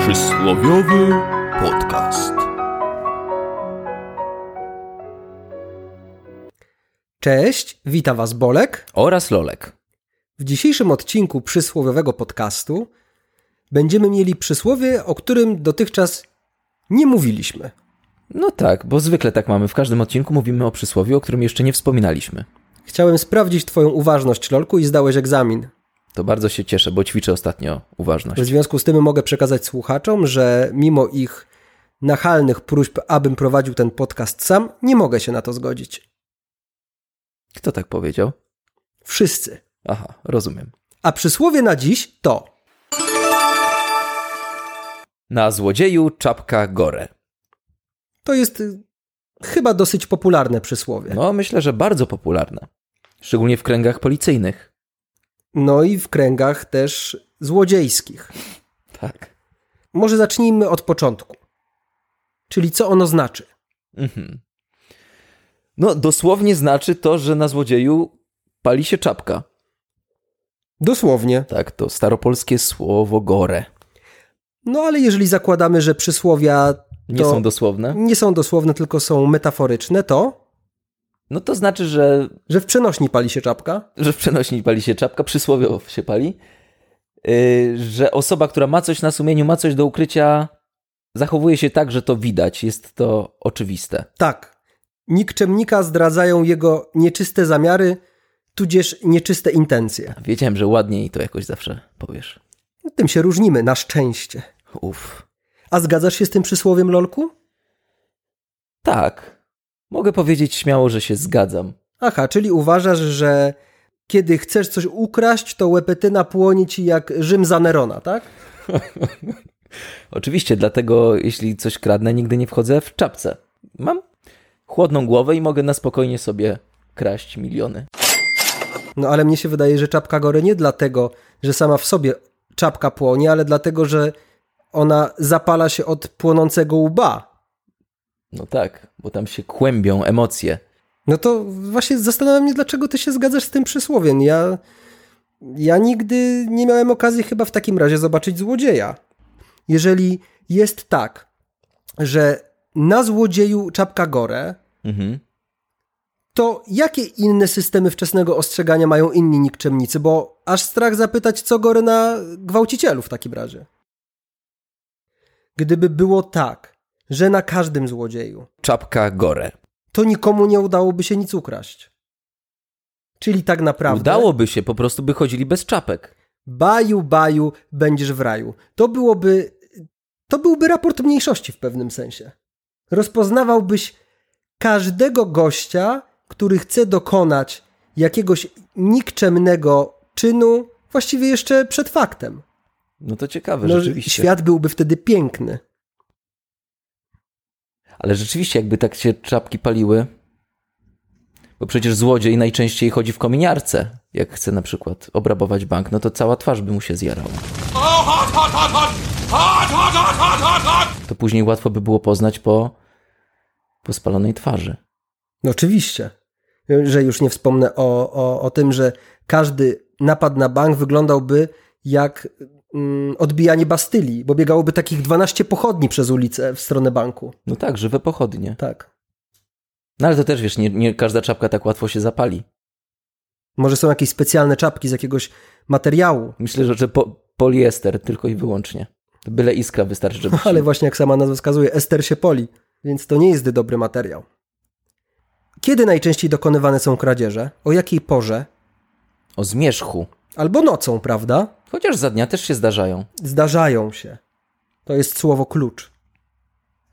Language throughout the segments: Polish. Przysłowiowy podcast. Cześć, wita Was Bolek. oraz Lolek. W dzisiejszym odcinku przysłowiowego podcastu będziemy mieli przysłowie, o którym dotychczas nie mówiliśmy. No tak, bo zwykle tak mamy. W każdym odcinku mówimy o przysłowiu, o którym jeszcze nie wspominaliśmy. Chciałem sprawdzić Twoją uważność, Lolku, i zdałeś egzamin. To bardzo się cieszę, bo ćwiczę ostatnio uważność. W związku z tym mogę przekazać słuchaczom, że mimo ich nachalnych próśb, abym prowadził ten podcast sam, nie mogę się na to zgodzić. Kto tak powiedział? Wszyscy. Aha, rozumiem. A przysłowie na dziś to Na złodzieju czapka gore. to jest y, chyba dosyć popularne przysłowie. No, myślę, że bardzo popularne. Szczególnie w kręgach policyjnych. No i w kręgach też złodziejskich. Tak. Może zacznijmy od początku. Czyli co ono znaczy? Mhm. No, dosłownie znaczy to, że na złodzieju pali się czapka. Dosłownie. Tak, to staropolskie słowo gore. No ale jeżeli zakładamy, że przysłowia Nie To- są dosłowne? nie są dosłowne, tylko są metaforyczne, to No to znaczy, że że w przenośni pali się czapka? że w przenośni pali się czapka, przysłowiowo się pali, yy, że osoba, która ma coś na sumieniu, ma coś do ukrycia, zachowuje się tak, że to widać, jest to oczywiste. Tak. Nikczemnika zdradzają jego nieczyste zamiary, tudzież nieczyste intencje. No, Wiedziałem, że ładniej to jakoś zawsze powiesz. Tym się różnimy, na szczęście. Uff. A zgadzasz się z tym przysłowiem, Lolku? Tak. Mogę powiedzieć śmiało, że się zgadzam. Aha, czyli uważasz, że kiedy chcesz coś ukraść, to łepetyna płonie ci jak Rzym za Nerona, tak? Oczywiście, dlatego jeśli coś kradnę, nigdy nie wchodzę w czapce. Mam chłodną głowę i mogę na spokojnie sobie kraść miliony. No ale mnie się wydaje, że czapka gory nie dlatego, że sama w sobie czapka płonie, ale dlatego, że ona zapala się od płonącego łba. No tak, bo tam się kłębią emocje. No to właśnie zastanawiam się, dlaczego ty się zgadzasz z tym przysłowiem. Ja, ja nigdy nie miałem okazji chyba w takim razie zobaczyć złodzieja. Jeżeli jest tak, że na złodzieju czapka gorę, Mhm. to jakie inne systemy wczesnego ostrzegania mają inni nikczemnicy? Bo aż strach zapytać, co gory na gwałcicielu w takim razie. Gdyby było tak, że na każdym złodzieju, Czapka gore. to nikomu nie udałoby się nic ukraść. Czyli tak naprawdę. Udałoby się, po prostu by chodzili bez czapek. Baju, baju, będziesz w raju. To byłoby. To byłby raport mniejszości w pewnym sensie. Rozpoznawałbyś każdego gościa, który chce dokonać jakiegoś nikczemnego czynu, właściwie jeszcze przed faktem. No to ciekawe, No, rzeczywiście. świat byłby wtedy piękny. Ale rzeczywiście, jakby tak się czapki paliły. Bo przecież złodziej najczęściej chodzi w kominiarce. Jak chce na przykład obrabować bank, no to cała twarz by mu się zjarała. To później łatwo by było poznać po, po spalonej twarzy. No oczywiście. Że już nie wspomnę o, o, o tym, że każdy napad na bank wyglądałby jak mm, odbijanie Bastylii, bo biegałoby takich 12 pochodni przez ulicę w stronę banku. No tak, żywe pochodnie. Tak. No ale to też wiesz, nie, nie każda czapka tak łatwo się zapali. Może są jakieś specjalne czapki z jakiegoś materiału, Myślę, że, że po, poliester tylko i wyłącznie. Byle iskra wystarczy, żeby. się- ale właśnie jak sama nazwa wskazuje, ester się poli, więc to nie jest dobry materiał. Kiedy najczęściej dokonywane są kradzieże? O jakiej porze? O zmierzchu. Albo nocą, prawda? Chociaż za dnia też się zdarzają. zdarzają się. To jest słowo klucz.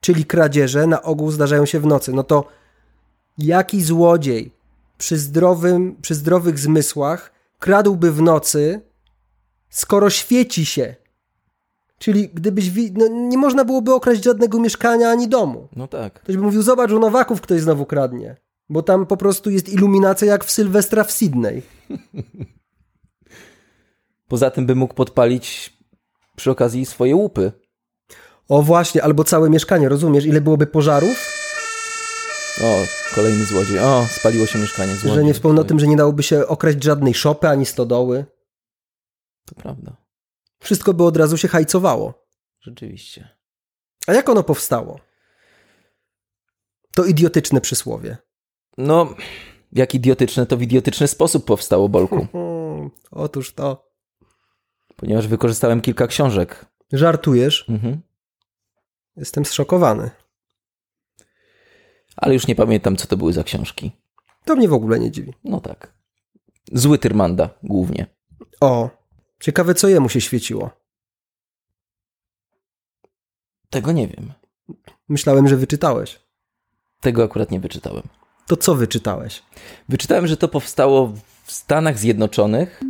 Czyli kradzieże na ogół zdarzają się w nocy. No to jaki złodziej przy, zdrowym, przy zdrowych zmysłach kradłby w nocy, skoro świeci się? Czyli gdybyś. Wi- no, nie można byłoby okraść żadnego mieszkania ani domu. No tak. Ktoś by mówił: Zobacz, u Nowaków ktoś znowu kradnie. Bo tam po prostu jest iluminacja jak w Sylwestra w Sydney. Poza tym by mógł podpalić przy okazji swoje łupy. O właśnie, albo całe mieszkanie, rozumiesz, ile byłoby pożarów? O, kolejny złodziej. O, spaliło się mieszkanie złodziej. Że nie wspomnę o tym, że nie dałoby się okraść żadnej szopy ani stodoły. To prawda. Wszystko by od razu się hajcowało. Rzeczywiście. A jak ono powstało? To idiotyczne przysłowie. No, jak idiotyczne, to w idiotyczny sposób powstało, Bolku. Hmm, otóż to. Ponieważ wykorzystałem kilka książek. Żartujesz? Mhm. Jestem zszokowany. Ale już nie pamiętam, co to były za książki. To mnie w ogóle nie dziwi. No tak. Zły Tyrmanda głównie. O, ciekawe co jemu się świeciło. Tego nie wiem. Myślałem, że wyczytałeś. Tego akurat nie wyczytałem. To co wyczytałeś? Wyczytałem, że to powstało w Stanach Zjednoczonych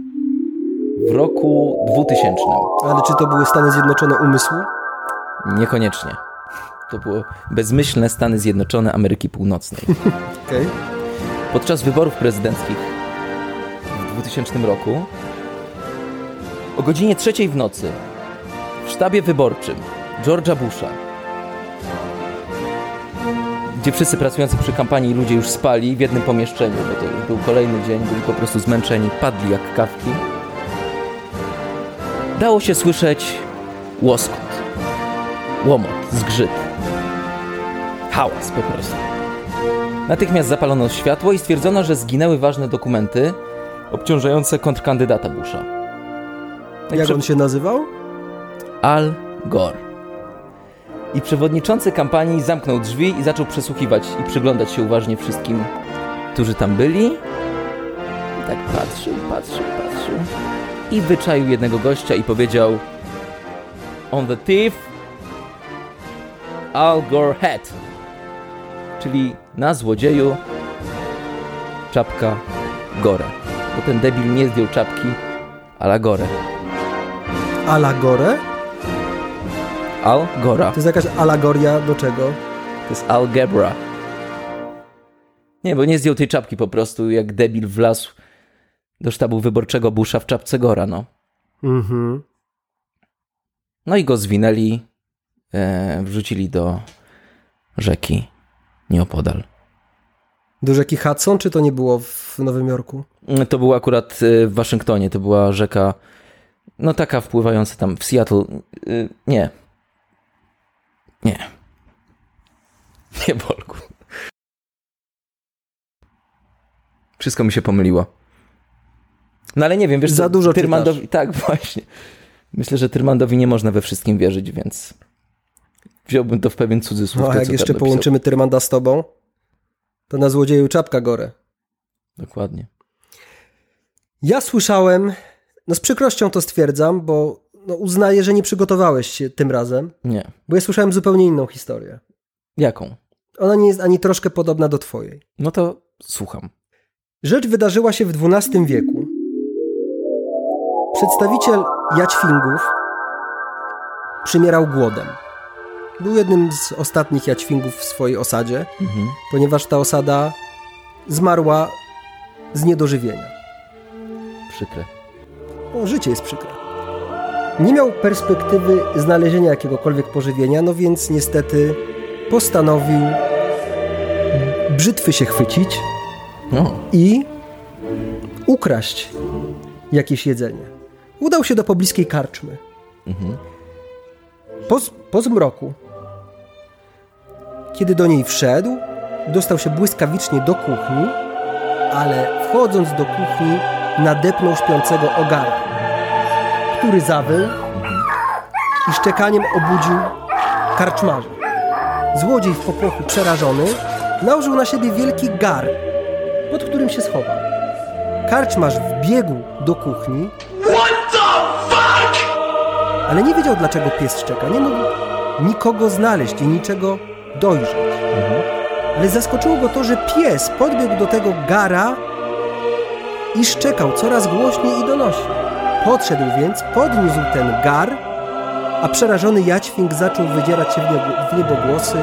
w roku 2000. Ale czy to były Stany Zjednoczone umysłu? Niekoniecznie. To było bezmyślne Stany Zjednoczone Ameryki Północnej. Okej. Podczas wyborów prezydenckich w 2000 roku o godzinie trzeciej w nocy w sztabie wyborczym George'a Busha, gdzie wszyscy pracujący przy kampanii ludzie już spali w jednym pomieszczeniu, bo to już był kolejny dzień, byli po prostu zmęczeni, padli jak kawki. Dało się słyszeć łoskot, łomot, zgrzyt, hałas po prostu. Natychmiast zapalono światło i stwierdzono, że zginęły ważne dokumenty obciążające kontrkandydata Busha. No i Jak przy- on się nazywał? Al Gore. I przewodniczący kampanii zamknął drzwi i zaczął przesłuchiwać i przyglądać się uważnie wszystkim, którzy tam byli. I tak patrzył, patrzył, patrzył. I wyczaił jednego gościa i powiedział: On the thief, Al Gore hat. Czyli na złodzieju czapka Gore. Bo ten debil nie zdjął czapki, ale Gore. Alagore? Al Gora. To jest jakaś alagoria do czego? To jest algebra. Nie, bo nie zdjął tej czapki po prostu, jak debil wlazł do sztabu wyborczego Busha w czapce Gora, no. Mhm. No i go zwinęli, e, wrzucili do rzeki nieopodal. Do rzeki Hudson, czy to nie było w Nowym Jorku? Mm, To było akurat e, w Waszyngtonie, to była rzeka, no taka wpływająca tam w Seattle. Y, Nie. Nie. Nie, Bolku. Wszystko mi się pomyliło. No ale nie wiem, wiesz Za co, dużo Tyrmandowi, Tak, właśnie. Myślę, że Tyrmandowi nie można we wszystkim wierzyć, więc wziąłbym to w pewien cudzysłów. No a to, jak co jeszcze tam napisał. połączymy Tyrmanda z tobą, to na złodzieju czapka gore. Dokładnie. Ja słyszałem, no z przykrością to stwierdzam, bo no uznaję, że nie przygotowałeś się tym razem, Nie. bo ja słyszałem zupełnie inną historię. Jaką? Ona nie jest ani troszkę podobna do twojej. No to słucham. Rzecz wydarzyła się w XII wieku. Przedstawiciel jaćwingów przymierał głodem. Był jednym z ostatnich jaćwingów w swojej osadzie, Mhm. ponieważ ta osada zmarła z niedożywienia. Przykre. No, życie jest przykre. Nie miał perspektywy znalezienia jakiegokolwiek pożywienia, no więc niestety postanowił brzytwy się chwycić No. i ukraść jakieś jedzenie. Udał się do pobliskiej karczmy. Po, z- po zmroku, kiedy do niej wszedł, dostał się błyskawicznie do kuchni, ale wchodząc do kuchni, nadepnął śpiącego ogara, który zawył i szczekaniem obudził karczmarza. Złodziej w popłochu przerażony nałożył na siebie wielki gar, pod którym się schował. Karczmarz wbiegł do kuchni. Ale nie wiedział, dlaczego pies szczeka. Nie mógł nikogo znaleźć i niczego dojrzeć. Ale zaskoczyło go to, że pies podbiegł do tego gara i szczekał coraz głośniej i donośniej. Podszedł więc, podniósł ten gar, a przerażony jaćwink zaczął wydzierać się w niebo, w niebogłosy.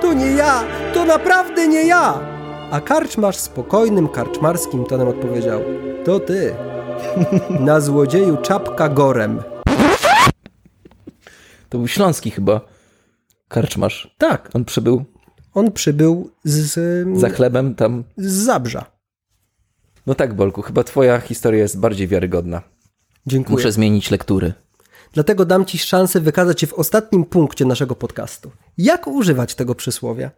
To nie ja! To naprawdę nie ja! A karczmarz spokojnym, karczmarskim tonem odpowiedział. To ty. Na złodzieju czapka gorem. To był Śląski chyba karczmarz. Tak. On przybył On przybył z, z, za chlebem tam. z Zabrza. No tak, Bolku, chyba twoja historia jest bardziej wiarygodna. Dziękuję. Muszę zmienić lektury. Dlatego dam ci szansę wykazać się w ostatnim punkcie naszego podcastu. Jak używać tego przysłowia?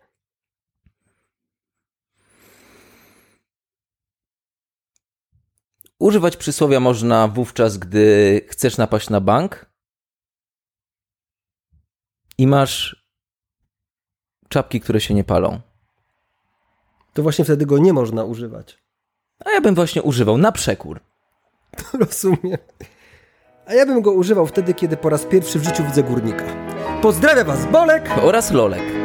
Używać przysłowia można wówczas, gdy chcesz napaść na bank i masz czapki, które się nie palą. To właśnie wtedy go nie można używać. A ja bym właśnie używał na przekór. Rozumiem. A ja bym go używał wtedy, kiedy po raz pierwszy w życiu widzę górnika. Pozdrawiam Was, Bolek! Oraz lolek.